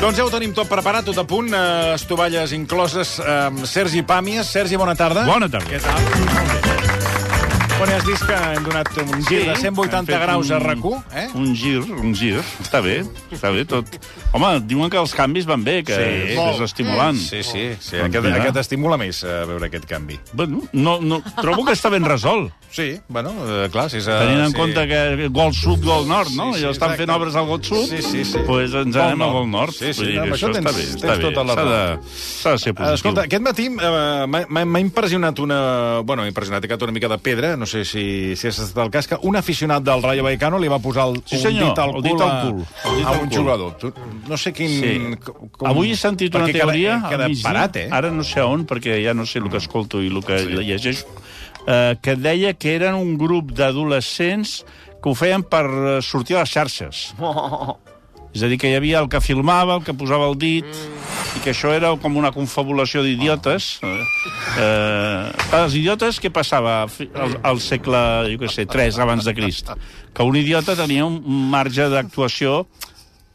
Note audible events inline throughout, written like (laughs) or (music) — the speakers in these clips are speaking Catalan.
Doncs ja ho tenim tot preparat, tot a punt, eh, estovalles incloses, eh, Sergi Pàmies. Sergi, bona tarda. Bona tarda. Què tal? Bueno, ja has vist que hem donat un gir de 180 hem fet graus a un- RAC1, eh? Un gir, un gir. Està bé, està bé tot. Home, diuen que els canvis van bé, que Sí. sí, és estimulant. Sí, sí, sí. Doncs Aquest, mira. aquest estimula més, eh, veure aquest canvi. Bueno, no, no, trobo que està ben resolt, Sí, bueno, eh, clar, si és... eh, tenint en sí. compte que gol sud, gol nord, no? Sí, sí, I estan exacte. fent obres al gol sud, Sí, sí, sí. doncs ens Gol anem nord. al gol nord. Sí, sí, Vull dir no, que amb això això tens- està bé, tens està bé. tota la S'ha raó. de, s'ha de ser positiu. Escolta, aquest matí eh, m'ha- m'ha m'ha impressionat una... Bueno, m'ha impressionat, he quedat una mica de pedra, no sé si, si has estat el cas, que un aficionat del Rayo Vallecano li va posar el, Sí, senyor, un dit al el cul, dit al a- cul. El dit a al un cul. jugador. Tu- No sé quin... Sí. Mm, com- Com... Avui he sentit una perquè queda- teoria... al Queda, migdia, parat, eh? Ara no sé on, perquè ja no sé el que escolto i el que sí. llegeixo, eh, que deia que eren un grup d'adolescents que ho feien per eh, sortir a les xarxes. Oh. És a dir, que hi havia el que filmava, el que posava el dit, Mm. i que això era com una confabulació d'idiotes. Ah. Eh, eh, els idiotes, què passava fi- al, al segle, jo què sé, 3 abans de Crist? Que un idiota tenia un marge d'actuació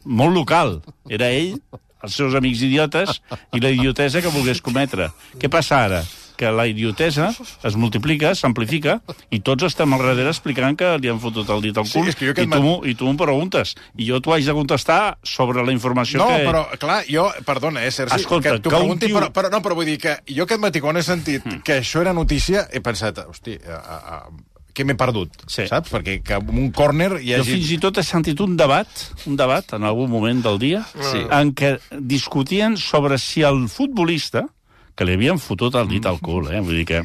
molt local. Era ell, els seus amics idiotes i la idiotesa que volgués cometre. Què passa ara? Que la idiotesa es multiplica, s'amplifica, i tots estem al darrere explicant que li han fotut el dit al Sí, cul, és que jo i, aquest tu mat- m'ho- i tu m'ho preguntes. I jo t'ho haig de contestar sobre la informació No, que... però, clar, jo... Perdona, eh, Sergi, Escolta, que t'ho que un pregunti, tio- Hmm. però, però, no, però vull dir que jo aquest matí, quan he sentit que això era notícia, he pensat, hosti, eh, a, a, a, què m'he perdut, Sí. saps? Perquè que en un córner hi Jo hagi... fins i tot he sentit un debat, un debat en algun moment del dia, sí. en què discutien sobre si el futbolista, que li havien fotut el dit al cul, eh? Vull dir que,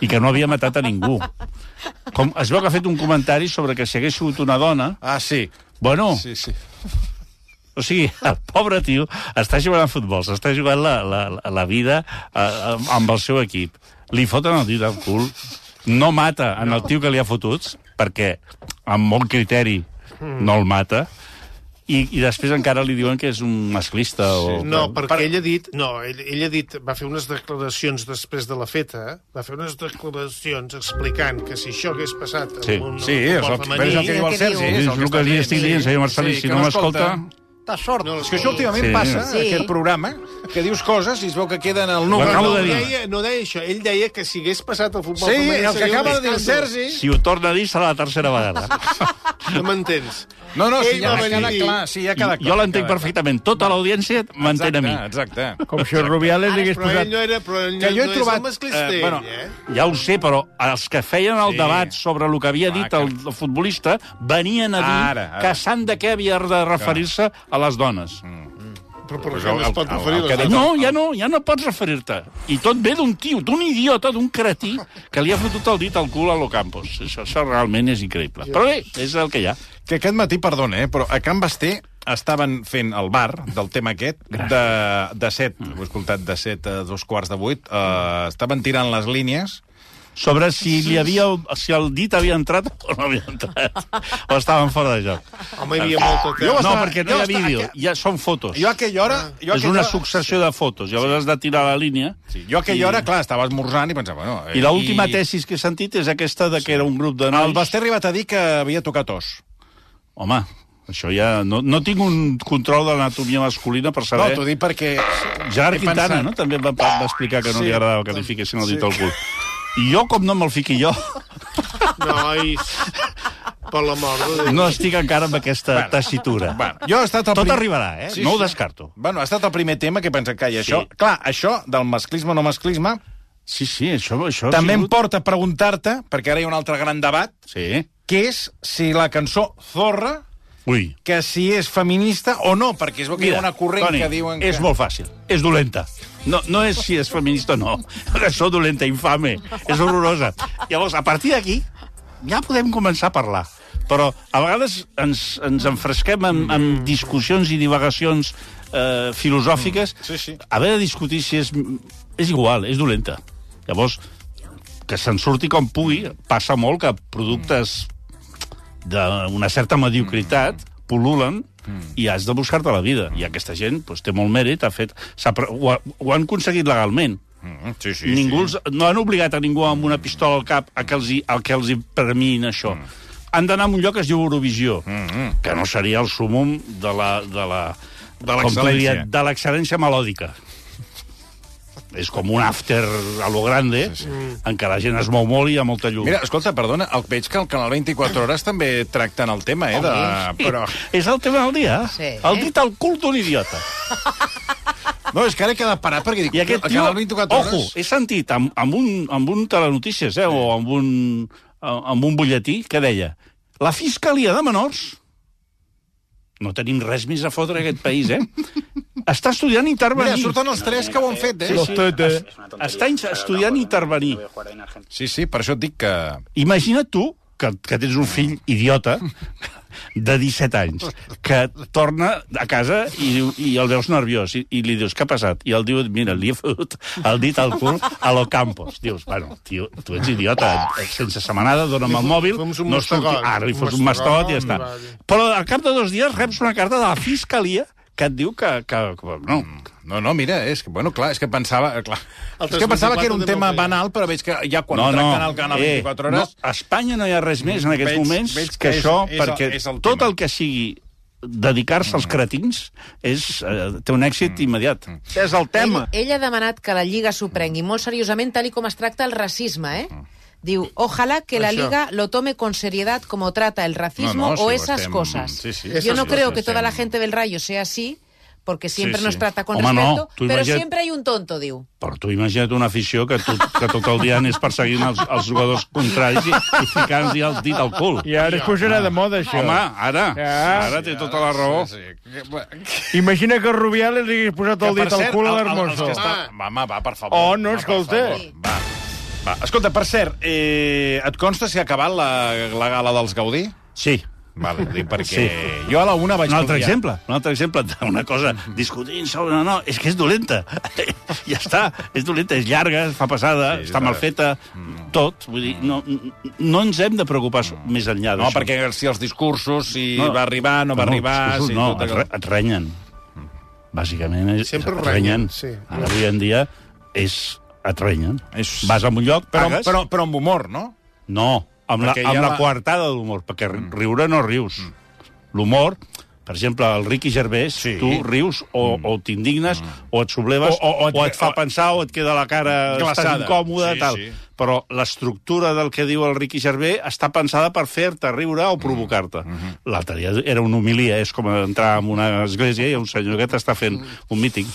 i que no havia matat a ningú. Com, es veu que ha fet un comentari sobre que si hagués sigut una dona... Ah, sí. Bueno, sí. Sí, sí. o sigui, (laughs) el pobre tio està jugant a futbol, s'està jugant la, la, la vida eh, amb el seu equip. Li foten el dit al cul, no mata en el tio que li ha fotut, perquè amb molt criteri no el mata, i, i després encara li diuen que és un masclista. O... No, perquè ell ha dit... No, ell, ell ha dit... Va fer unes declaracions després de la feta, va fer unes declaracions explicant que si això hagués passat amb Sí. un Sí, és el, que, és el que diu el Sergi. És el que li estic dient, senyor Marcelí, si no m'escolta... T'ha sort. No és que això últimament Sí. passa, Sí. aquest programa, que dius coses i es veu que queden al Ho número. acabo No, de dir. deia, no deia això, ell deia que si hagués passat el futbol Sí, femení... el que seria un acaba de dir el escàndol. Sergi... Si ho torna a dir, serà la tercera vegada. No m'entens. No, no, sí, Ell ja va ha quedat venir. clar. Sí, ja ha quedat clar. Jo ja ha l'entenc quedat perfectament. Tota l'audiència m'entén a mi. clar. Exacte, exacte. Com si el Rubiales li hagués Però ell posat... no era... Però ell Que no, jo he no trobat, és el masclista, eh, eh, bueno, bueno, ell, eh? Ja ho sé, però els que feien el Sí. sí. debat sobre el que havia Clar, dit que- el, el futbolista venien a dir Ara, ara, ara. Mm. ara. que s'han de què havia de referir-se a les dones. Però, però el- que no es pot el- el- referir el a que les deia- dones. No, ja no, ja no pots referir-te. I tot ve d'un tio, d'un idiota, d'un cretí, que li ha fotut el dit al cul a l'Ocampos. Això, això realment és increïble. Però bé, és el que hi ha. Que aquest matí, perdona, eh, però a Can Basté estaven fent el bar del tema aquest de, de set, Mm. ho he escoltat, de set a dos quarts de vuit, eh, estaven tirant les línies Sobre si, li havia, si el dit havia entrat o no havia entrat. O estaven fora de joc. Home, hi havia molta Jo terra. No, estava- perquè jo no hi ha estava- vídeo, ja són fotos. Jo a aquella hora... Jo a És aquella una hora- successió de fotos. Llavors has de tirar la línia Sí, jo a aquella hora, clar, estava esmorzant i pensava... Bueno, eh, I l'última tesis que he sentit és aquesta de que era un grup de nois... El Basté ha arribat a dir que havia tocat os. Home, això ja... No, no tinc un control de l'anatomia masculina per No, saber... t'ho dic perquè... Gerard he pensat- Quintana, no? També va, va va explicar que no Sí. li agradava que li fiquessin el dit al cul. I jo, com no me'l fiqui jo, Nois, per la mort de Déu. no estic encara amb aquesta tessitura. Bueno, jo he estat el Tot prim- arribarà, eh? Sí, No ho sí. descarto. Bueno, ha estat el primer tema que he pensat que hi ha això. Clar, això del masclisme o no masclisme Sí, sí, això... això ha també em sigut- porta a preguntar-te, perquè ara hi ha un altre gran debat, Sí. que és si la cançó Zorra, Ui. que si és feminista o no, perquè es veu que hi ha una corrent Toni, que diuen que... és molt fàcil. És dolenta. No, no és si és feminista o no. Això dolenta, infame. És horrorosa. Llavors, a partir d'aquí, ja podem començar a parlar. Però a vegades ens, ens enfresquem amb, amb discussions i divagacions eh, filosòfiques. Mm, Sí, sí. Haver de discutir si és... És igual, és dolenta. Llavors, que se'n surti com pugui. Passa molt que productes d'una certa mediocritat Mm. pol·lulen i has de buscar-te la vida. I aquesta gent doncs, té molt mèrit, ha fet, s'ha pre- ho, ha- ho han aconseguit legalment. Mm, sí, sí, Sí, ningú sí. els, no han obligat a ningú amb una pistola al cap a que els hi, a que els hi permin això. Mm. Han d'anar a un lloc que es diu Eurovisió, que no seria el súmum de la... De la Mm-hmm. De com t'ho diria, l'excel·lència. De l'excel·lència melòdica. És com un after a lo grande, sí, sí. en què la gent es mou molt i hi ha molta llum. Mira, escolta, perdona, el veig que al Canal 24 Hores també tracten el tema, eh? De... Però... És el tema del dia. Sí. El dit al cul d'un idiota. No, és que ara he quedat parat perquè dic... I aquest al tio, Canal 24 ojo, Hores... he sentit amb, amb, un, amb un telenotícies, eh, o amb un, eh, amb un butlletí, que deia la Fiscalia de Menors no tenim res més a fotre a aquest país, (laughs) eh? Està estudiant intervenir. Mira, surten els tres que ho han fet, eh? Sí, sí. Es- Està in- estudiant intervenir. Sí, sí, per això et dic que... Imagina't tu que, que tens un fill idiota de 17 anys que torna a casa i, diu, i el veus nerviós i, i li dius, què ha passat? I el diu, mira, li he fotut el dit al cul a lo Campos. Dius, bueno, tio, tu ets idiota, sense setmanada, dóna'm el mòbil, fem un no surti... mastegot. Ara li Un fots un mastegot, mastegot i ja està. va dir. Però al cap de dos dies reps una carta de la fiscalia que et diu que... que, que no, No, no, mira, és que, bueno, clar, és que pensava... eh, Clar, El és que pensava que era un 324 tema també ho feia. banal, però veig que ja quan no, tracten el Canal 24 Hores... Eh, No, a Espanya no hi ha res més en aquests Veig- moments veig que que és- això, és el- Mm. perquè és el tot tema. el que sigui dedicar-se als cretins és, eh, té un èxit Mm. immediat. És el tema. Ell, ell ha demanat que la Lliga s'ho prengui molt seriosament tal i com es tracta el racisme, eh? Mm. Diu, ojalá que la Això. Liga lo tome con seriedad como trata el racismo No, no, o sí, lo esas estem- cosas. sí, sí. Yo Esas no creo cosas, que toda la estem- gente del Rayo sea así, porque siempre Sí, nos sí. trata con Home, no, respeto, tu pero imagina't- siempre hay un tonto, diu. Però tu imagina't una afició que, tot, que tot el dia anés perseguint els, els jugadors contraris i, i ficant-hi el dit al cul. I ara es posarà de moda, això. Home, ara, Ja. ara té tota la raó. Sí, sí. Que, Imagina que Rubiales li hagués posat el per dit al cert, cul a el- el- els l'Hermoso. que estan- Home, va, per favor. Oh, no, Home, per escolta. favor, Va, va. Escolta, per cert, eh, et consta si ha acabat la, la gala dels Gaudí? Sí, Vale, ho dic perquè... Sí. Jo a la una vaig un altre confiar. exemple, un altre exemple d'una cosa discutint sobre... No, no, és que és dolenta. (laughs) ja està, és dolenta, és llarga, es fa passada, Sí, sí, està va. mal feta, mm. tot. Vull dir, no, no ens hem de preocupar mm. més enllà No, d'això. perquè si els discursos, si No. va arribar, no va arribar... No, si no tot et, allò. Mm. re, et renyen. Bàsicament és, Sempre et renyen, renyen. sí. Ara, avui en dia, és et renyen. És- Vas a un lloc, Però, pagues... però, però amb humor, no? No, amb la, Perquè hi ha amb la... Mm. la- coartada de l'humor, perquè ri- riure no rius. L'humor, per exemple, el Ricky Gervais, sí. tu rius o, o t'indignes, o et subleves, o, o, o, et, o et fa o- pensar, o et queda la cara... Glaçada. Estàs incòmode, Sí, sí, tal. sí. Sí. Però l'estructura del que diu el Ricky Gervais està pensada per fer-te riure Mm. o provocar-te. Mm-hmm. L'altre dia era una homilia, és com entrar en una església i un senyor que t'està fent Mm. un míting.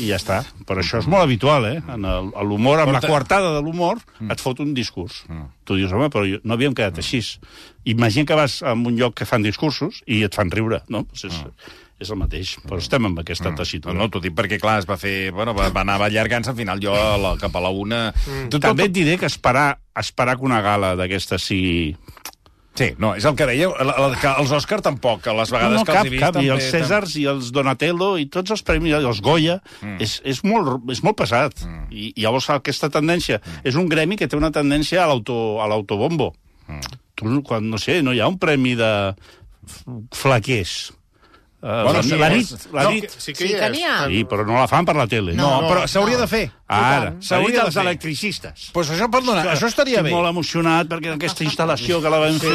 I ja està. Però això és molt habitual, eh? En el- en l'humor, amb la Escolta. Mm. coartada de l'humor, et fot un discurs. Tu dius, home, però jo- no havíem quedat així. Imagina que vas a un lloc que fan discursos i et fan riure, no? Doncs és, Mm. és el mateix. Però estem amb aquesta No, tessitura. no t'ho dic perquè, clar, es va fer... Bueno, va, va anar allargant-se, al final jo a la, cap a la una... Mm. Tu també et diré que esperar, esperar que una gala d'aquesta sigui... Sí, no, és el que dèieu, el, el, que els Òscar tampoc, a les vegades no, no, que cap, els he vist... cap. I també- els Cèsars i els Donatello i tots els premis, i els Goya, mm. és, és, molt, és molt pesat. Mm. I, I llavors aquesta tendència... Mm. És un gremi que té una tendència a l'auto- a l'autobombo. Mm. Tu, quan, no sé, no hi ha un premi de f- flaquers. Uh, bueno, sí, la, la és- nit, la No, nit... que- sí Sí, que hi que és. n'hi ha. Sí, però no la fan per la tele. No, No, però no. s'hauria de fer. Ara, S'hauria s'hauria de dels fer. electricistes. Pues això, perdona, això estaria Estic bé. molt emocionat perquè en aquesta instal·lació que la vam fer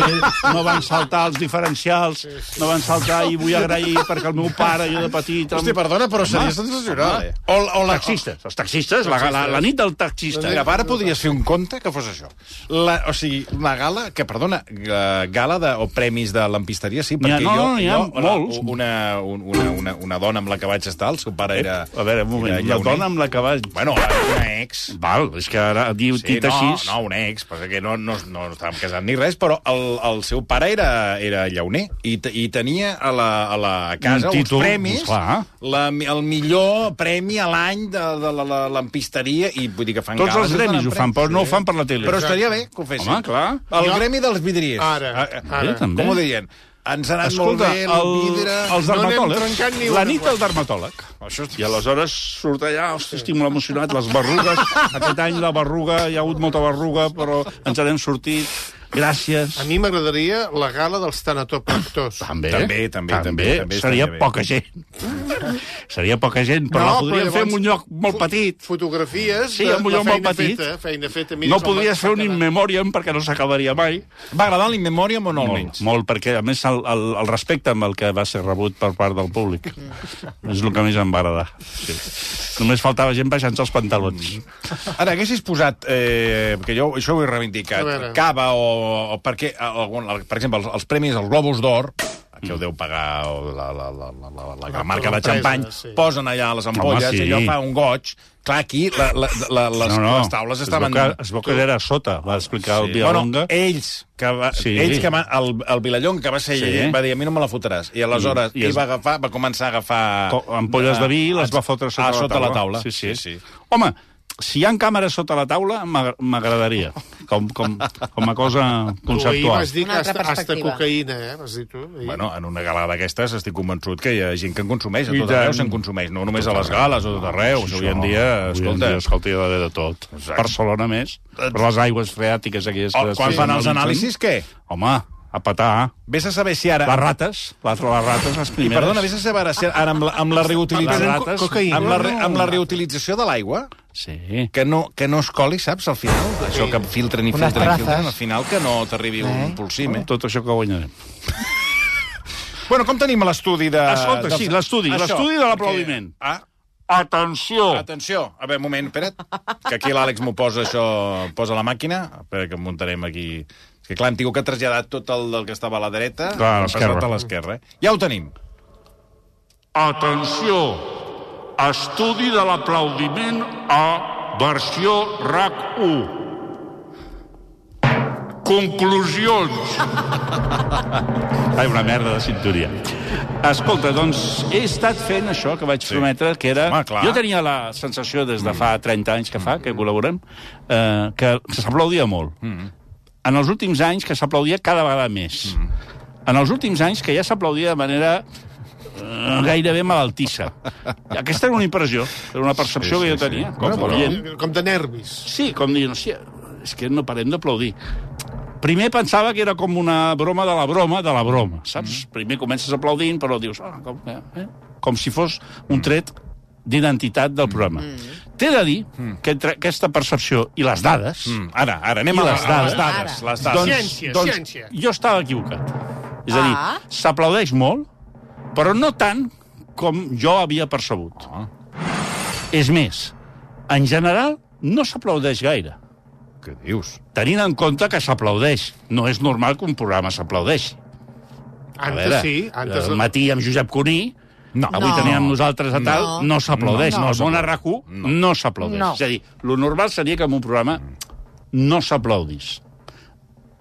no van saltar els diferencials, no van saltar i vull agrair perquè el meu pare, jo de petit... em- Hosti, perdona, però seria Home, sensacional. eh? home. O, o la... Taxistes, els taxistes, la, la, la nit del taxista. Mira, ara podries fer un conte que fos això. La, o sigui, una gala, que, perdona, eh, gala de, o premis de lampisteria, sí, N'hi ha- perquè no, jo... no, n'hi ha jo, la- molts. Una, un- una, una, una dona amb la que vaig estar, el seu pare era... Eh, A veure, un moment, era la lleoner. dona amb la que va... Bueno, una ex. Val, és que ara diu sí, Sí, dit no, així... no, un ex, passa que no, no, no estàvem casats ni res, però el, el seu pare era, era llauner i, te- i tenia a la, a la casa Un títol, uns premis, clar. la, el millor premi a l'any de, de la, la lampisteria, i vull dir que fan Tots gales els gremis de ho fan, però no ho fan per la tele. Però estaria bé que ho fessin. Home, clar. El gremi dels vidriers. Ara, Ah, ah, ara. també. Com ho dirien? Ens ha anat molt Escolta, bé el, el, vidre... els No n'hem dermatòlegs, trencat ni la una nit cosa. al dermatòleg. Això és... I aleshores surt allà, hosti, estic molt emocionat, les berrugues, (laughs) aquest any la berruga, hi ha hagut molta berruga, però ens n'hem sortit, gràcies. A mi m'agradaria la gala dels tanatopractors. També, També, també, també, també Seria estaria bé. poca gent. Seria poca gent, però No, la però podríem fer en llavors- un lloc molt petit. Fotografies Sí, de amb un la lloc molt feina petit. feta. eh? Feina feta mira, No se'n va- podries fer un se'n in va memoriam perquè no s'acabaria mai. Va agradar l'Inmemoriam o no Molt, almenys? molt, perquè a més el, el, el respecte amb el que va ser rebut per part del (laughs) públic és el que més em va agradar. Sí. Només faltava gent baixant-se els pantalons. Mm. Ara, haguessis posat, eh, que jo això ho he reivindicat, A veure. cava o... o perquè, algun, per exemple, els, els premis, els Globus d'Or, que Mm. ho deu pagar o la, la, la, la, la, la, la marca de l'empresa, xampany, sí. sí. posen allà les ampolles i sí. allò fa un goig. Clar, aquí la, la, la, les, no, no. les taules estaven... Es veu que, es veu que era a sota, va explicar Bueno, eh, sí. el Vilallonga. ells, que va, Sí. sí. ells que va, el, el Vilallong que va ser Sí. sí. va dir, a mi no me la fotràs. I aleshores, I- i I, i es- va, agafar, va començar a agafar... Co- Ah, ampolles de vi i les va fotre sota, eh, ah, sota la, taula. la taula. Sí, sí. Sí, sí. Home, si hi ha càmeres sota la taula, m'ag- m'agradaria. Com, com, com a cosa acabar. Tu ahir conceptual. vas dir Una que altra hasta, hasta perspectiva. cocaïna, eh? Vas dir tu. ahir. Bueno, en una gala d'aquestes estic convençut que hi ha gent que en consumeix, a I tot tant. arreu se'n consumeix, no només a les gales o tot arreu, Sí, no, sí, avui en home, dia, avui en escolta, dia, escolta, hi ha d'haver de tot. Exacte. Barcelona més, però les aigües freàtiques aquelles... Doncs- oh, que quan es fan els normalitzen. anàlisis, què? Home, a petar. Vés a saber si ara... Les rates, les, les rates, les I primeres. perdona, vés a saber si ara amb la, amb la Les reutilització... rates- Amb la, re- amb la reutilització de l'aigua, Sí. que no, que no es coli, saps, al final? Això que filtren i Unes filtren i filtren, trazes. al final que no t'arribi un Bueno, polsime. tot això que guanyarem. Bueno, com tenim l'estudi de... Escolta, sí, l'estudi, Això, l'estudi de l'aplaudiment. perquè- Ah, Atenció! Atenció, a veure, un moment, espera't, que aquí l'Àlex m'ho posa això, posa la màquina, espera que em muntarem aquí... És que clar, hem tingut que traslladar tot el del que estava a la dreta, Clar, a l'hem l'esquerra. passat a l'esquerra. eh? Ja ho tenim. Atenció! Estudi de l'aplaudiment a versió RAC1. Conclusions. (laughs) Ai, una merda de cinturia. Escolta, doncs he estat fent això que vaig sí. Mm. prometre, que era... Home, clar. jo tenia la sensació des de fa 30 anys que fa, que col·laborem, eh, que s'aplaudia molt. Mm. En els últims anys que s'aplaudia cada vegada més. Mm. En els últims anys que ja s'aplaudia de manera eh, gairebé malaltissa. Aquesta era una impressió, era una percepció sí, sí, que jo tenia. Sí. Com, Bueno, no, però- però... Com de nervis. sí, com dient, hòstia, és que no parem d'aplaudir. Primer pensava que era com una broma de la broma de la broma, saps? Mm. Primer comences aplaudint, però dius... Ah, com, eh, eh? com si fos un tret d'identitat del programa. Mm. T'he de dir que entre aquesta percepció i les dades... Mm. Mm, Ara, ara, anem a, I la, les a les dades? dades. Ara. Les dades. Ciència, ciència. Doncs, Jo estava equivocat. És a dir, Ah. s'aplaudeix molt, però no tant com jo havia percebut. Ah. És més, en general no s'aplaudeix gaire, Doncs, què dius? tenint en compte que s'aplaudeix. No és normal que un programa s'aplaudeixi. A Antes veure, sí, antes... el matí amb Josep Cuní, No. avui No. teníem nosaltres a tal, No. no s'aplaudeix. No, No, no no, no, no, no, no s'aplaudeix. No. És a dir, el normal seria que en un programa no s'aplaudís.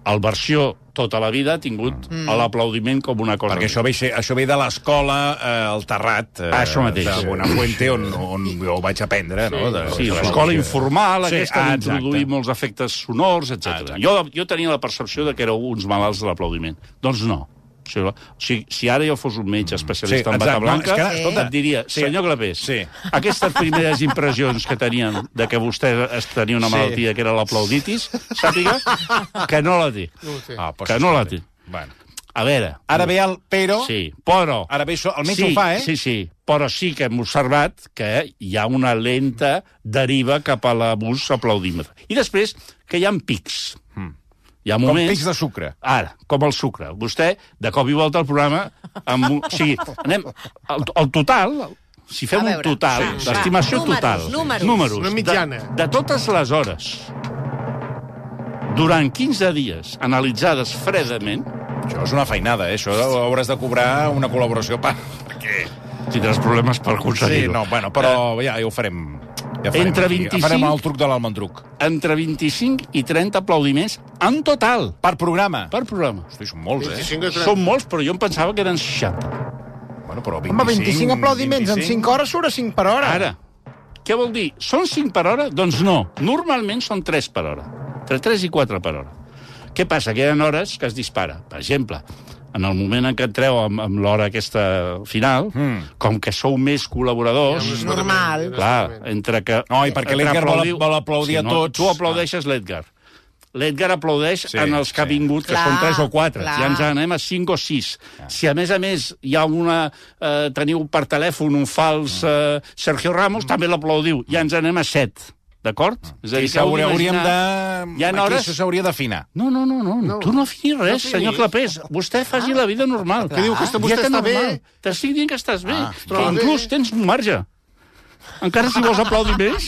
El versió tota la vida ha tingut mm. l'aplaudiment com una cosa. Doncs, Perquè això ve, ser- això ve de l'escola eh, al Terrat, eh, Ah, Això mateix. de Bonafuente, on, on jo ho vaig aprendre. No? De, Sí, de- l'escola informal, Sí, sí, aquesta ah, d'introduir exacte. molts efectes sonors, Ah, etc. exacte. jo, jo tenia la percepció de que éreu uns malalts de l'aplaudiment. Doncs no. O sigui, o sigui, si ara jo fos un metge Mm. Sí, especialista en exacte. bata blanca, No, és que, escolta, et diria, sí. senyor Clapés, Sí. aquestes primeres impressions que tenien de que vostè es tenia una Sí. malaltia que era l'aplauditis, sàpiga que no la té. Ah, però Que això no la està bé. té. Bueno. A veure... Ara ve el però... Sí, però... Ah, Ara ve això, el metge sí, ho fa, eh? Sí, sí, però sí que hem observat que hi ha una lenta deriva cap a l'abús aplaudímetre. I després que hi ha pics. Mm. Hi ha Hmm. Com moments... peix de sucre. Ara, com el sucre. Vostè, de cop i volta al programa... Amb... un- O sigui, anem... El, el total... Si fem A un veure, total, sí, d'estimació va, total... números, números. números Una mitjana. De, de totes les hores, durant 15 dies, analitzades fredament, Això és una feinada, eh? Això hauràs de cobrar una col·laboració. Pa, perquè... tindràs problemes per Sí, aconseguir-ho. Eh? no, bueno, però ja, ja ho farem. Ja farem Entre aquí. Ja 25 farem el truc de l'almendruc. entre 25 i 30 aplaudiments en total Per programa. Per... per programa. Hosti, són molts, eh? 25 a 30. Són molts, però jo em pensava que eren 60. Bueno, però 25... Home, 25 aplaudiments en 5 hores surt a 5 per hora. Ara, què vol dir? Són 5 per hora? Doncs no. Normalment són 3 per hora. Entre 3 i 4 per hora. Què passa? Que hi ha hores que es dispara. Per exemple, en el moment en què entreu amb, amb l'hora aquesta final, Hmm. mm. com que sou més col·laboradors... És normal. Clar, entre que... No, i perquè l'Edgar entre vol- vol aplaudir a no, tots. Tu aplaudeixes l'Edgar. L'Edgar aplaudeix Sí, sí, en els que sí. ha vingut, que Clar, són 3 o 4. clar. Ja ens anem a 5 o 6. Ah. Si a més a més hi ha una... Eh, teniu per telèfon un fals Ah. eh, Sergio Ramos, també l'aplaudiu. Ja ens anem a 7. D'acord? Ah. És a I que heu s'hauria- hauríem de... Hi ha Aquí hores- això s'hauria d'afinar. No, no, no, no, no. tu no finis res, no senyor Clapés. Vostè faci la vida normal. Que diu que està- vostè Dieta està bé. normal. T'estic dient que estàs bé. que trobo bé. inclús tens un marge. Encara si vols aplaudir més.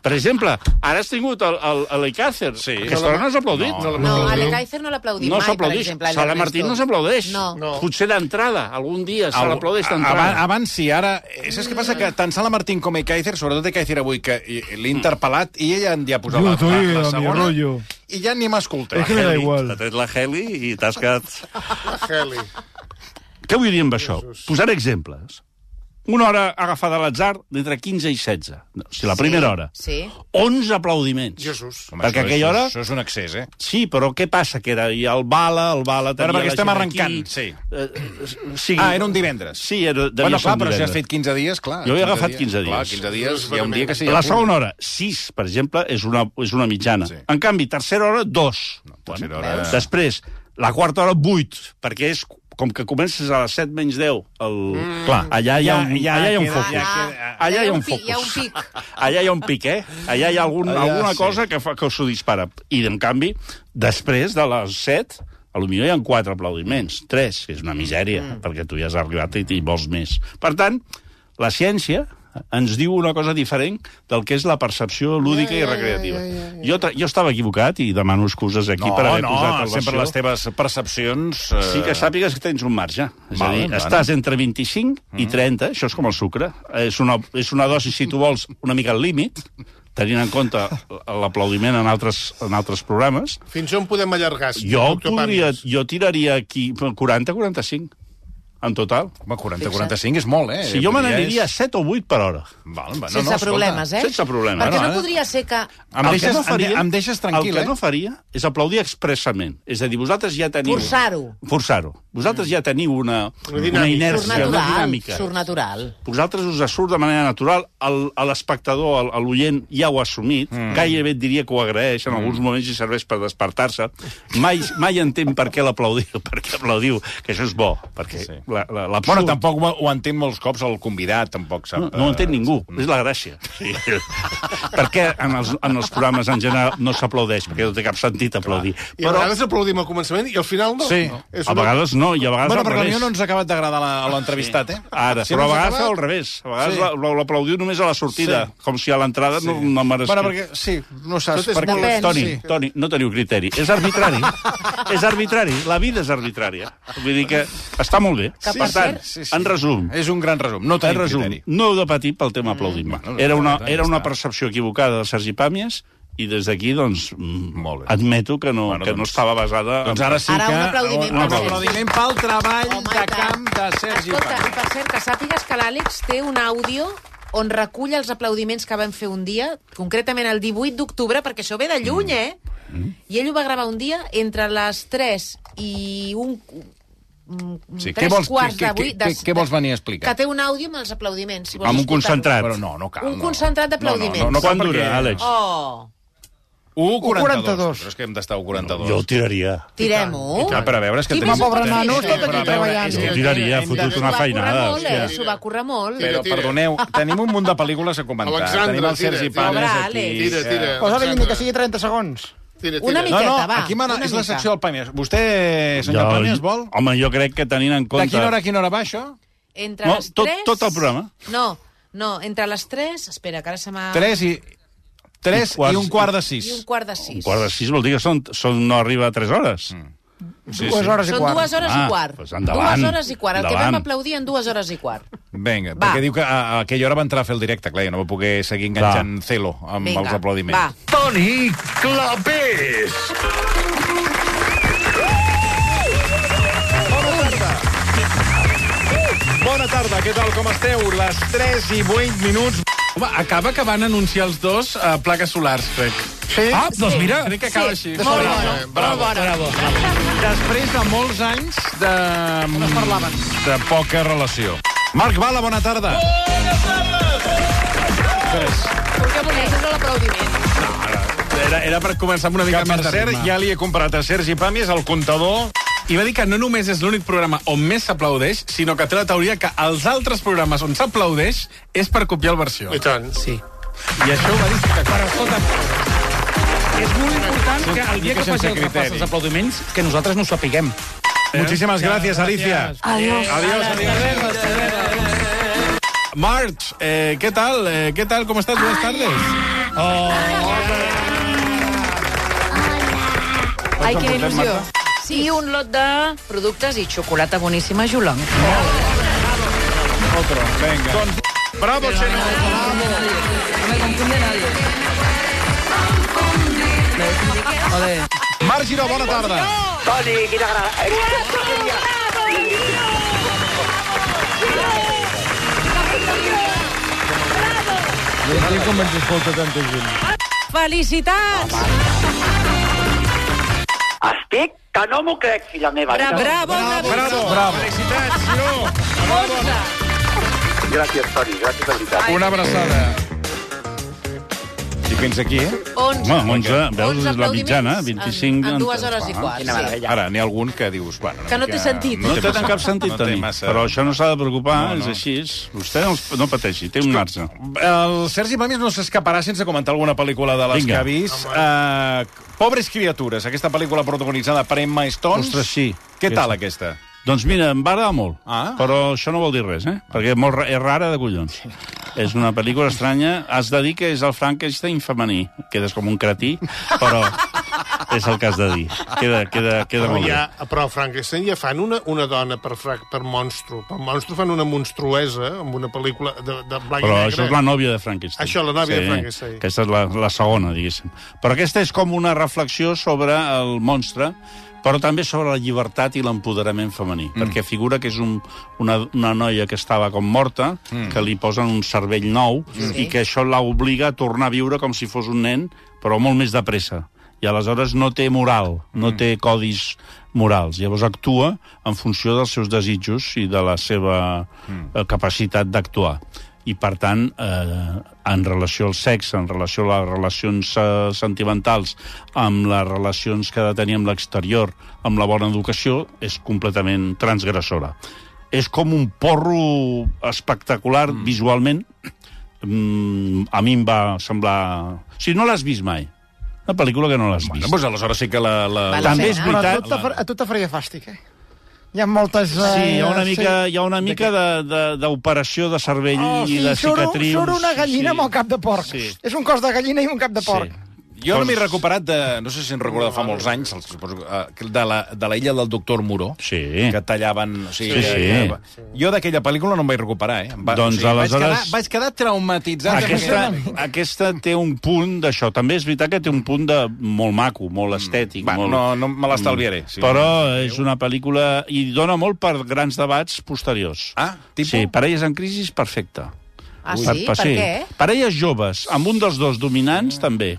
Per exemple, ara has tingut el, el, el Icàcer. Sí. Aquesta hora no has aplaudit. No, No, a l'Ecaizer no l'aplaudim No mai, per s'aplaudeix. exemple. a Sala l'Ernesto. Martín no s'aplaudeix. No. No. Potser d'entrada, algun dia se l'aplaudeix Abans, d'entrada. abans sí, ara... eh, Saps què passa? Que tant Sala Martín com Ekaizer, sobretot Ekaizer avui, que eh, l'he Mm. interpel·lat i ella en dia posat Jo la, estoy la, la a mi segona rollo. i ja ni m'escolta. Eh, Es que me da igual. T'ha tret la Heli i t'has quedat... Heli. (laughs) Què vull dir amb això? Posaré exemples. Una hora agafada a l'atzar d'entre 15 i 16. No, si la primera hora. Sí. 11 aplaudiments. Jesús. Home, Perquè això és- aquella hora- Això és un excés, eh? Sí, però què passa? Que era i el bala, el bala... tenia Però perquè la estem gent arrencant, aquí. sí. Eh, eh, sigui... Ah, era un divendres. Sí, era, devia bueno, ser clar, un però si has divendres. fet 15 dies, clar. Jo he agafat 15 Clar, dies. 15 dies, hi ha un dia que sí. hi ha La punt. segona hora, 6, per exemple, és una, és una mitjana. Sí. Sí. En canvi, tercera hora, 2. No, tercera hora- Després, la quarta hora, 8, perquè és com que comences a les 7 menys 10. El... Mm. Clar, allà hi ha, un, allà hi ha un focus. queda- allà hi ha un pic, focus. hi ha un pic. Allà hi ha un pic, eh? Allà hi ha algun, Allà, allà, alguna sí. sí. cosa que, fa, que s'ho dispara. I, en canvi, després de les 7, a lo millor hi ha quatre aplaudiments, tres, que és una misèria, mm. perquè tu ja has arribat i, i vols més. Per tant, la ciència ens diu una cosa diferent del que és la percepció lúdica ja, ja, i recreativa. Ja, ja, ja, Jo, tra- jo estava equivocat i demano excuses aquí No, per haver no, posat el sempre versió. les teves percepcions... Eh... Sí que sàpigues que tens un marge. És Val, Mm. a dir, val. estàs entre 25 i 30, això és com el sucre. És una, és una dosi, si tu vols, una mica al límit, tenint en compte l'aplaudiment en, altres, en altres programes. Fins on podem allargar? senyor Jo, doctor podria, Pàmies? jo tiraria aquí 40-45, en total. Home, 40-45 és molt, eh? Si jo me Vull dir, n'aniria és- 7 o 8 per hora. Val, va, no, sense no, escolta. problemes, eh? sense problemes. Perquè No, no, eh? podria ser que... Em El que deixes, em, de- em deixes tranquil, el que eh? no faria és aplaudir expressament. És a dir, vosaltres ja teniu... Forçar-ho. Forçar-ho. Vosaltres ja teniu una, una dinàmica. Surt inèrcia, una natural, dinàmica. surt natural. vosaltres us surt de manera natural, el- a l'espectador, el- a l'oient, ja ho ha assumit, mm. gairebé et diria que ho agraeix, Mm. en alguns moments hi serveix per despertar-se, mai, mai entén per què l'aplaudiu, (laughs) per què aplaudiu, que això és bo, perquè Sí. sí. l'absurd... Bueno, tampoc ho, ho entén molts cops el convidat, tampoc sap... No, no ho entén eh, ningú, és la gràcia. Sí. (laughs) per què en els, en els programes en general no s'aplaudeix? Perquè no té cap sentit aplaudir. I a vegades aplaudim al començament i al final no. Sí. No. A vegades no, i a vegades Bueno, al perquè revés. potser no ens ha acabat d'agradar la- l'entrevistat, eh? Ara, Si però a no ens vegades acaba- al revés. A vegades Sí. sí. l'aplaudiu només a la sortida, sí. com si a l'entrada sí. no, no mereixés. Bueno, perquè, sí, no saps Tot és per què... molt- Toni, Sí. sí. Toni, no teniu criteri. És arbitrari. és arbitrari. La vida és arbitrària. Vull dir que està molt bé. Que, per per tant, cert- sí, sí. en resum, És un gran resum, no en tenim resum, criteri. no heu de patir pel tema aplaudiment. Bueno, Era una, ja està, era ja una està. percepció equivocada de Sergi Pàmies i des d'aquí, doncs, mm, Molt bé. admeto que Bueno, no, bueno, que no doncs- estava basada... en- Doncs ara sí Ara que... un aplaudiment Un per Sergi. aplaudiment pel treball Home, de i tant. camp de Sergi Escolta, Pàmies. i per cert, que sàpigues que l'Àlex té un àudio on recull els aplaudiments que vam fer un dia, concretament el 18 d'octubre, perquè això ve de lluny, Mm. eh? I ell ho va gravar un dia entre les 3 i un... mm, Sí, tres què vols- quarts què- de què- vuit què- de- què vols venir a explicar? Que té un àudio amb els aplaudiments. Si vols Amb un escoltar-lo. concentrat. Però no, no cal. Un no. concentrat d'aplaudiments. No, no, no, Quan cal dura, perquè- Àlex? Oh, 1,42. 1,42. Però és que hem d'estar a 1,42. Jo tiraria. tirem-ho. Ah, però a veure, és que... Quin tenim- pobre tenim- nano, Sí, però escolta, a aquí veure, treballant. és Jo que- tiraria, ha fotut S'ho una va currar feinada. molt, eh? hòstia. S'ho va currar molt. Tira, Però, tira. perdoneu, tenim un munt de pel·lícules a comentar. Alexandre, tenim el tira, Sergi tira. Pàmies Pobre aquí. Àlex. Tira, tira. eh, Posa Alexandre. ni que sigui 30 segons. Tira, tira. Una No, no, Miqueta, va, aquí m'agrada- una és la mica. secció del Pàmies. Vostè, senyor Pàmies, vol? Home, jo crec que tenint en De compte... quina hora a quina hora va, això? Entre No, les tot- 3... tot el programa. No, no, entre les 3... Espera, que ara se m'ha... 3 i... 3 I quarts- i un quart de 6. I un quart de 6. Un quart de sis vol dir que són, són no arriba a tres hores. Mm. Sí, Dues hores i Són quart. dues hores Ah, i quart. doncs endavant. Dues hores i quart. El que Endavant. vam aplaudir en dues hores i quart. Vinga, Va. perquè diu que a, a aquella hora va entrar a fer el directe, clar, jo no va poder seguir enganxant va. Celo amb Vinga, els aplaudiments. va. Toni Clapés. Bona tarda, què tal, com esteu? Les 3 i 8 minuts. eh, Home, acaba que van anunciar els dos a plaques solars, crec. Sí? Ah, doncs mira, crec que acaba Sí, així. molt bona, molt bona. Després de molts anys de... No parlaven. De poca relació. Marc Bala, bona tarda. Que bonic, és l'aplaudiment. Era, era per començar amb una mica que, més de per cert, ritme. ja li he comprat a Sergi Pàmies el comptador. I va dir que no només és l'únic programa on més s'aplaudeix, sinó que té la teoria que els altres programes on s'aplaudeix és per copiar el versió. I tant. Sí. I això ho va dir que... Però escolta, és molt important que el dia mica que faci sense el repàs criteri. dels aplaudiments, que nosaltres no ho sapiguem. Eh? Moltíssimes gràcies, Alicia. Adiós. Adiós, adiós. March, eh, què tal? Eh, què tal? Com estàs? Buenas tardes. Ai, que il·lusió. Sí. I un lot de productes i xocolata boníssima Julong. Bravo, senyor. Marc Giró, bona tarda. Felicitats! Estic que no m'ho crec, filla meva. Bra bravo, bravo, bravo. Bravo. Felicitats, Giró. Gràcies, Toni, gràcies de veritat. Una abraçada. I fins aquí, eh? 11. Home, 11, veus, és la aplaudiments mitjana, 25... En, en dues hores i quart, Quina sí. meravella. Ara, n'hi ha algun que dius... Bueno, una Que no mica- té sentit. No té té massa- en cap sentit, no té Toni, massa- però això no s'ha de preocupar, No, no. no, no. és així. Vostè no, no pateixi, té un marge. El Sergi Pàmies no s'escaparà sense comentar alguna pel·lícula de les Vinga. que ha vist. Uh, Pobres criatures, aquesta pel·lícula protagonitzada per Emma Stone. Ostres, sí. Què tal, Sí. aquesta? Doncs mira, em va agradar molt, Ah. però això no vol dir res, eh? Perquè és, molt, ra- és rara de collons. És una pel·lícula estranya. Has de dir que és el Frankenstein femení. Quedes com un cretí, però és el que has de dir. Queda, queda, queda Però, molt ja, bé. però a Frankenstein ja fan una, una dona per, fra- per monstru. Per monstru fan una monstruesa amb una pel·lícula de, de Però blanc i negre. això és la nòvia de Frankenstein. Això, la nòvia de Frankenstein. Aquesta és la, la segona, diguéssim. Però aquesta és com una reflexió sobre el monstre, però també sobre la llibertat i l'empoderament femení, mm. perquè figura que és un, una, una noia que estava com morta, mm. que li posen un cervell nou, mm. i que això la obliga a tornar a viure com si fos un nen, però molt més de pressa. I aleshores no té moral, no té codis morals. Llavors actua en funció dels seus desitjos i de la seva eh, capacitat d'actuar i per tant eh, en relació al sexe, en relació a les relacions eh, sentimentals amb les relacions que ha de tenir amb l'exterior, amb la bona educació és completament transgressora és com un porro espectacular mm. visualment mm, a mi em va semblar si no l'has vist mai una pel·lícula que no l'has vist No, doncs aleshores sí que la... la... Val la també és pena. eh? Però tota a veritat tu, te, fa- a tu te faria fàstic, eh? Hi ha moltes... Eh, Sí, hi ha una mica, sí. hi ha una mica de- de- d'operació de, de cervell Oh, i sí, de surt, cicatrius. surt una sí. gallina sí. amb el cap de porc. Sí. Sí. És un cos de gallina i un cap de porc. Sí. Jo no m'he recuperat de... No sé si en recordo de fa molts anys, els- suposo, eh, de la, de la illa del doctor Moró. Sí. Que tallaven... O sigui, Sí, sí. que- que- Jo d'aquella pel·lícula no em vaig recuperar, eh? Em Va, Doncs Vaig aleshores- quedar, vaig quedar traumatitzat. Aquesta, aquesta té un punt d'això. També és veritat que té un punt de molt maco, molt estètic. Bueno, molt... Mm. no, no me l'estalviaré. Sí, Però és una pel·lícula... I dona molt per grans debats posteriors. Ah, tipus? Sí, Parelles en crisi és perfecta. Ah, sí? Per, sí. què? Parelles joves, amb un dels dos Ah. dominants, també.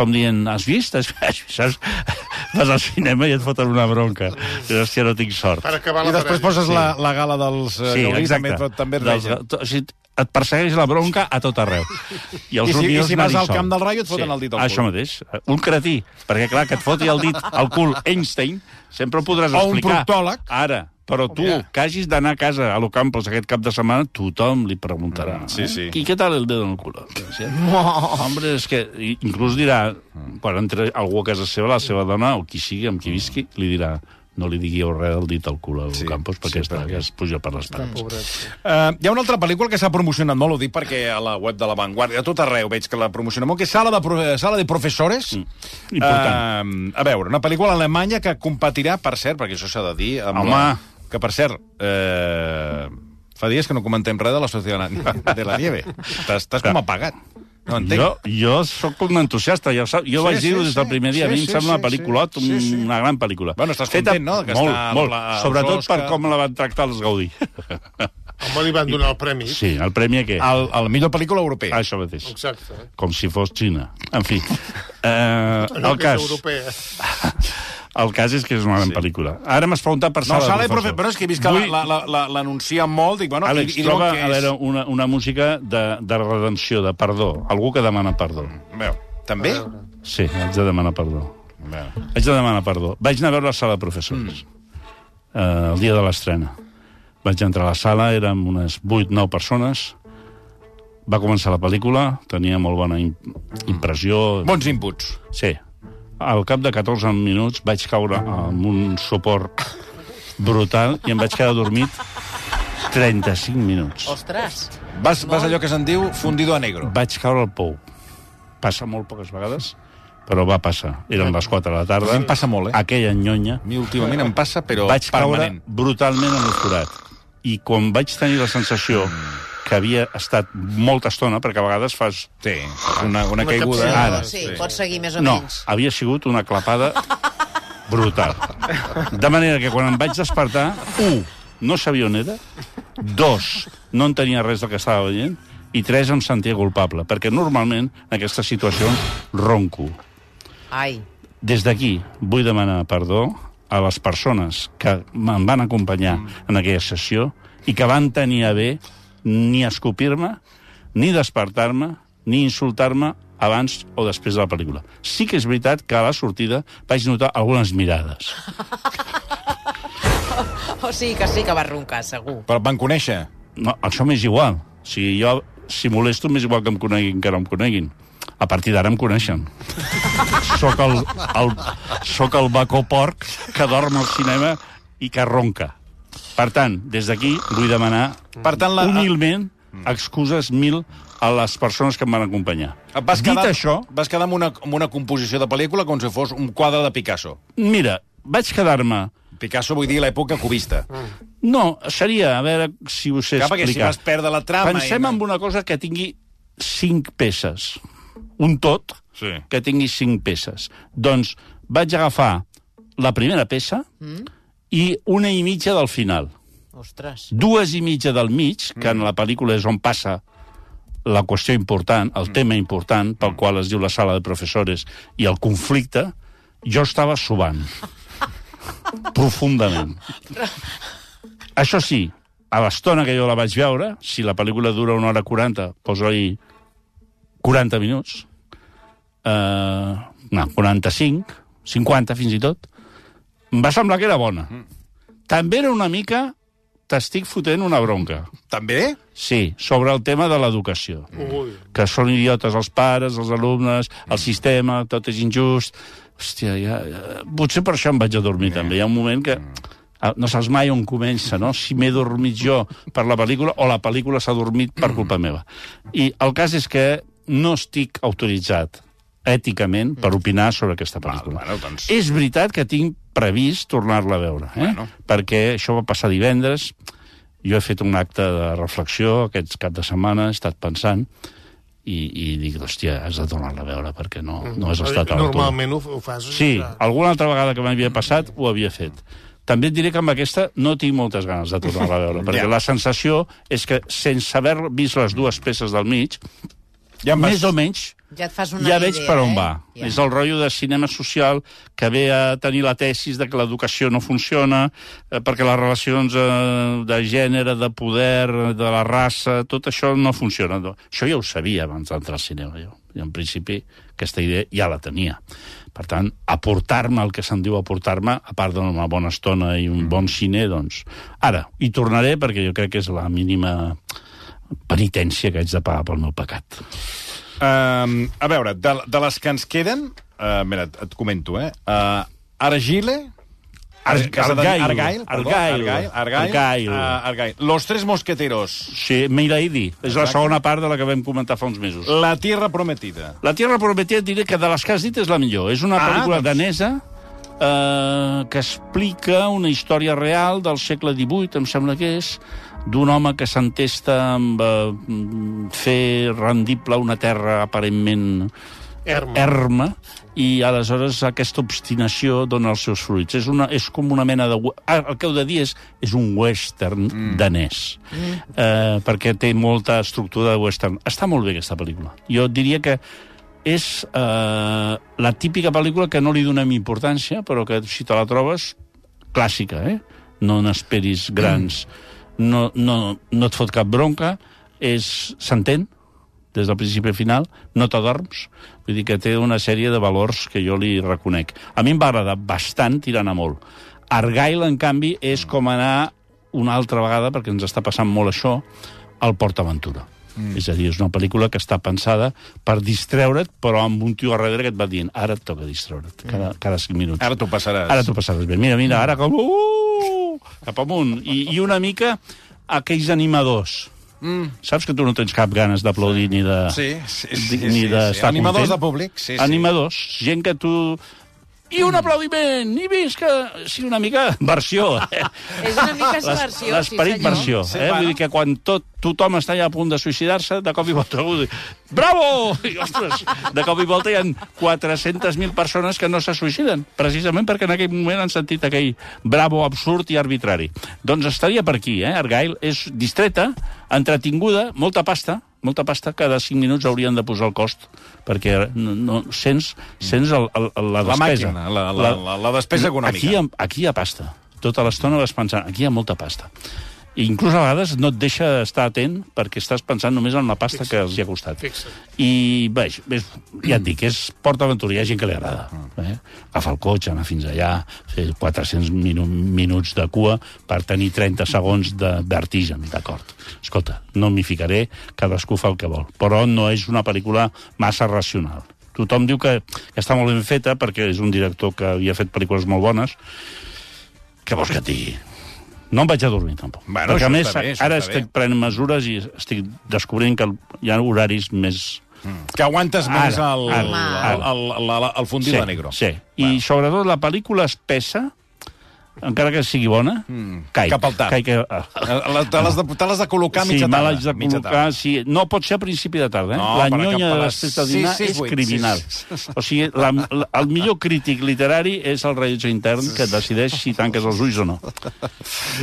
Com dient, has vist? (laughs) Has, has vist? Saps? Vas al cinema i et foten una Ah. bronca. Dius, hòstia, no tinc sort. Per acabar I la després parella. poses sí. la, la gala dels eh, Sí, Gaudí, exacte. també, també et Dels, regen. o sigui, et persegueix la bronca a tot (laughs) arreu. I, els I si- i rubiós si anar vas al sol. camp del Rayo et foten el dit al Això cul. mateix. eh, Un cretí. Perquè, clar, que et foti el dit al cul Einstein, sempre ho podràs O un explicar. proctòleg. Ara. Però tu, que hagis d'anar a casa a l'Ocampos aquest cap de setmana, tothom li preguntarà. Mm, sí, sí. I què tal el dedo en el cul? Sí. Hombre, és que i- inclús dirà, quan entra algú a casa seva, la seva dona, o qui sigui, amb qui visqui, li dirà no li digueu res del dit al cul a Sí, Ocampos sí, perquè, sí, perquè- perquè es puja per les parets. Uh, hi ha una altra pel·lícula que s'ha promocionat molt, ho dic perquè a la web de La Vanguardia, a tot arreu veig que la promociona molt, que és Sala de, Pro- eh, Sala de Professores. Mm. Important. Uh, a veure, una pel·lícula alemanya que competirà, per cert, perquè això s'ha de dir... Amb Home. La... Que, per cert, uh, fa dies que no comentem res de la Societat de la (laughs) Nieve. Estàs estàs com apagat. No entenc. Jo, jo sóc un entusiasta, ja ho sap. Sí, Jo sí, vaig sí, dir-ho des del sí. primer Sí, dia. a mi sí, em sembla sí, una pel·lícula, sí, sí, sí. una gran pel·lícula. Bueno, estàs content, no, que molt, està molt. la- els Sobretot per Oscar. com la van tractar els Gaudí. Home, li van donar el premi. Sí, el premi a què? El, el millor pel·lícula europea. Això mateix. Exacte. Com si fos Xina. En fi, eh, No, el que és cas... europea. (laughs) El cas és que és una gran sí. pel·lícula. Ara m'has preguntat per No, Sala, Sala i de Professor. Professor. Però és que he vist que Vull- la- la- la- l'anuncia molt, dic, bueno, Àlex, i, i troba diuen a que és... veure, una, una música de, de redempció, de perdó. Algú que demana perdó. Veu, també? Sí, haig de demanar perdó. Veu. Haig de demanar perdó. Vaig anar a veure la sala de professors mm. eh, el dia de l'estrena. Vaig entrar a la sala, érem unes 8-9 persones, va començar la pel·lícula, tenia molt bona im impressió... Bons inputs. Sí. Al cap de 14 minuts vaig caure amb un suport brutal i em vaig quedar dormit 35 minuts. Ostres. Vas, vas allò que se'n diu fundido a negro. Vaig caure al pou. Passa molt poques vegades, però va passar. Eren les 4 de la tarda. A mi em passa molt, eh? Aquella nyonya. A mi últimament em passa, però Vaig caure permanent. brutalment en el forat. I quan vaig tenir la sensació que havia estat molta estona, perquè a vegades fas... Sí, una, una caiguda. Sí, Ara. sí, pots seguir més o No, menys. havia sigut una clapada brutal. De manera que quan em vaig despertar, un, no sabia on era, dos, no en tenia res del que estava veient, i tres, em sentia culpable, perquè normalment en aquestes situacions ronco. Ai. Des d'aquí vull demanar perdó a les persones que em van acompanyar en aquella sessió i que van tenir a bé ni escopir-me, ni despertar-me, ni insultar-me abans o després de la pel·lícula. Sí que és veritat que a la sortida vaig notar algunes mirades. O sigui que sí que va roncar, segur. Però et van conèixer. No, això m'és igual. Si jo, si molesto, m'és igual que em coneguin que no em coneguin. A partir d'ara em coneixen. Soc el, el, soc el bacó porc que dorm al cinema i que ronca. Per tant, des d'aquí vull demanar Per tant, la- humilment excuses mil a les persones que em van acompanyar. Et vas Dit quedar, això, Vas quedar amb una, amb una composició de pel·lícula com si fos un quadre de Picasso. mira, vaig quedar-me... Picasso vull dir l'època cubista. No, seria, a veure si us he Clar, perquè si explicat. vas perdre la trama Pensem i- en una cosa que tingui cinc peces. Un tot Sí. que tingui cinc peces. Doncs vaig agafar la primera peça mm? i una i mitja del final. Ostres. Dues i mitja del mig, que en la pel·lícula és on passa la qüestió important, el tema important, pel qual es diu la sala de professores, i el conflicte, jo estava subant. profundament. Això sí, a l'estona que jo la vaig veure, si la pel·lícula dura una hora 40, poso-hi 40 minuts, eh, no, 45, 50 fins i tot, em va semblar que era bona. També era una mica t'estic fotent una bronca. També? Sí, sobre el tema de l'educació. Ui. Que són idiotes els pares, els alumnes, el sistema, tot és injust. Hòstia, ja, ja... potser per això em vaig Eh. a dormir, també. Hi ha un moment que ah, no saps mai on comença, no? Si m'he dormit jo per la pel·lícula o la pel·lícula s'ha dormit per culpa meva. I el cas és que no estic autoritzat èticament per opinar sobre aquesta pel·lícula. Mm. bueno, doncs- És veritat que tinc previst tornar-la a veure, eh? Bueno. perquè això va passar divendres, jo he fet un acte de reflexió aquest cap de setmana, he estat pensant, i, i dic, hòstia, has de tornar-la a veure, perquè no, Mm. no has estat a l'altura. Normalment ho, ho fas. Sí, ja. alguna altra vegada que m'havia passat, ho havia fet. També et diré que amb aquesta no tinc moltes ganes de tornar-la a (laughs) veure, perquè Ja. la sensació és que, sense haver vist les dues peces del mig, Ja em vas... més o menys, Ja et fas una ja idea, veig per on eh? va. Ja. És el rotllo de cinema social que ve a tenir la tesis de que l'educació no funciona, eh, perquè les relacions eh, de gènere, de poder, de la raça, tot això no funciona. No. Això ja ho sabia abans d'entrar al cinema, jo. I en principi aquesta idea ja la tenia. Per tant, aportar-me el que se'n diu aportar-me, a part d'una bona estona i un Mm. bon cine, doncs... Ara, hi tornaré perquè jo crec que és la mínima penitència que haig de pagar pel meu pecat. Um, a veure, de, de les que ens queden... Uh, mira, et, et comento, eh? Uh, Argile... Ar- que s'ha de dir- Argyle. Argyle, perdó, Argyle. Argyle, Argyle, Argyle. Uh, Argyle. Los tres mosqueteros. Sí, Meilaidi. És la segona part de la que vam comentar fa uns mesos. La tierra prometida. La Tierra Prometida diré que de les que has dit és la millor. És una Ah, pel·lícula doncs. danesa eh, que explica una història real del segle XVIII, em sembla que és, d'un home que s'entesta amb eh, mm, fer rendible una terra aparentment Erma. erma i aleshores aquesta obstinació dona els seus fruits. És, una, és com una mena de... we- Ah, el que heu de dir és, és un western mm. danès, mm. Eh, perquè té molta estructura de western. Està molt bé aquesta pel·lícula. Jo diria que és eh, la típica pel·lícula que no li donem importància, però que si te la trobes, clàssica, eh? No n'esperis grans. No, no, no et fot cap bronca, és s'entén des del principi al final, no t'adorms. Vull dir que té una sèrie de valors que jo li reconec. A mi em va agradar bastant tirant a molt. Argyle, en canvi, és com anar una altra vegada, perquè ens està passant molt això, al PortAventura. Mm. És a dir, és una pel·lícula que està pensada per distreure't, però amb un tio al darrere que et va dient ara et toca distreure't, cada, cada 5 minuts. Ara t'ho passaràs. Ara t'ho passaràs bé. Mira, mira, ara com... Uh, cap amunt. I, I una mica aquells animadors. Mm. Saps que tu no tens cap ganes d'aplaudir sí. ni de... Sí, sí, sí, ni sí, d'estar sí. Animadors content. de públic, sí, Mm. sí. Animadors, gent que tu... I un aplaudiment! I visca! Sí, una mica versió. (laughs) Eh? És una mica versió, sí, L'esperit senyor. versió. Sí, eh? bueno. Vull dir que quan tot, tothom està ja a punt de suïcidar-se, de cop i volta algú diu bravo! I, ostres, de cop i volta hi ha 400.000 persones que no se suïciden, precisament perquè en aquell moment han sentit aquell bravo absurd i arbitrari. Doncs estaria per aquí, eh? Argyle és distreta, entretinguda, molta pasta, molta pasta, cada 5 minuts haurien de posar el cost, perquè no, no, sents, sents el, el, el, la La despesa. màquina, la- la- la- la despesa econòmica. Aquí hi ha, aquí hi ha pasta. Tota l'estona vas pensant, aquí hi ha molta pasta. I inclús a vegades no et deixa estar atent perquè estàs pensant només en la pasta que els hi ha costat. I, vaja, és, ja et dic, és PortAventura, hi ha gent que li agrada. Eh? Agafar el cotxe, anar fins allà, fer 400 minu minuts de cua per tenir 30 segons de vertigen, d'acord. Escolta, no m'hi ficaré, cadascú fa el que vol. Però no és una pel·lícula massa racional. Tothom diu que, que està molt ben feta perquè és un director que havia fet pel·lícules molt bones. Què vols que et digui? No em vaig a dormir, tampoc. Bueno, Perquè, això a més, està bé, això ara està estic bé. prenent mesures i estic descobrint que hi ha horaris més... Que aguantes més Ara, el, ara, el, el, ara. el, el, el fondí sí, de negro. Sí. I, sobretot, la pel·lícula espessa, encara que sigui bona, mm. caic. Cap al tard. Caic, a- Eh, La- Te l'has de, te l'has de col·locar a sí, mitja me tarda. l'haig de mitja col·locar... Sí, no pot ser a principi de tarda, eh? No, la per cap nyonya a les de les 6 de dinar sis, sis, és vuit, criminal. sí, O sigui, la, la, el millor crític literari és el rellotge intern que decideix si tanques els ulls o no.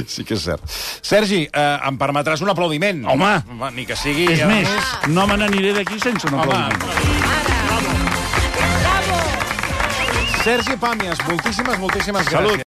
Sí que és cert. Sergi, eh, em permetràs un aplaudiment? Home! Va, Ni que sigui... És eh, més, no me n'aniré d'aquí sense un Home. aplaudiment. Sergi Pàmies, moltíssimes, moltíssimes Salut. gràcies.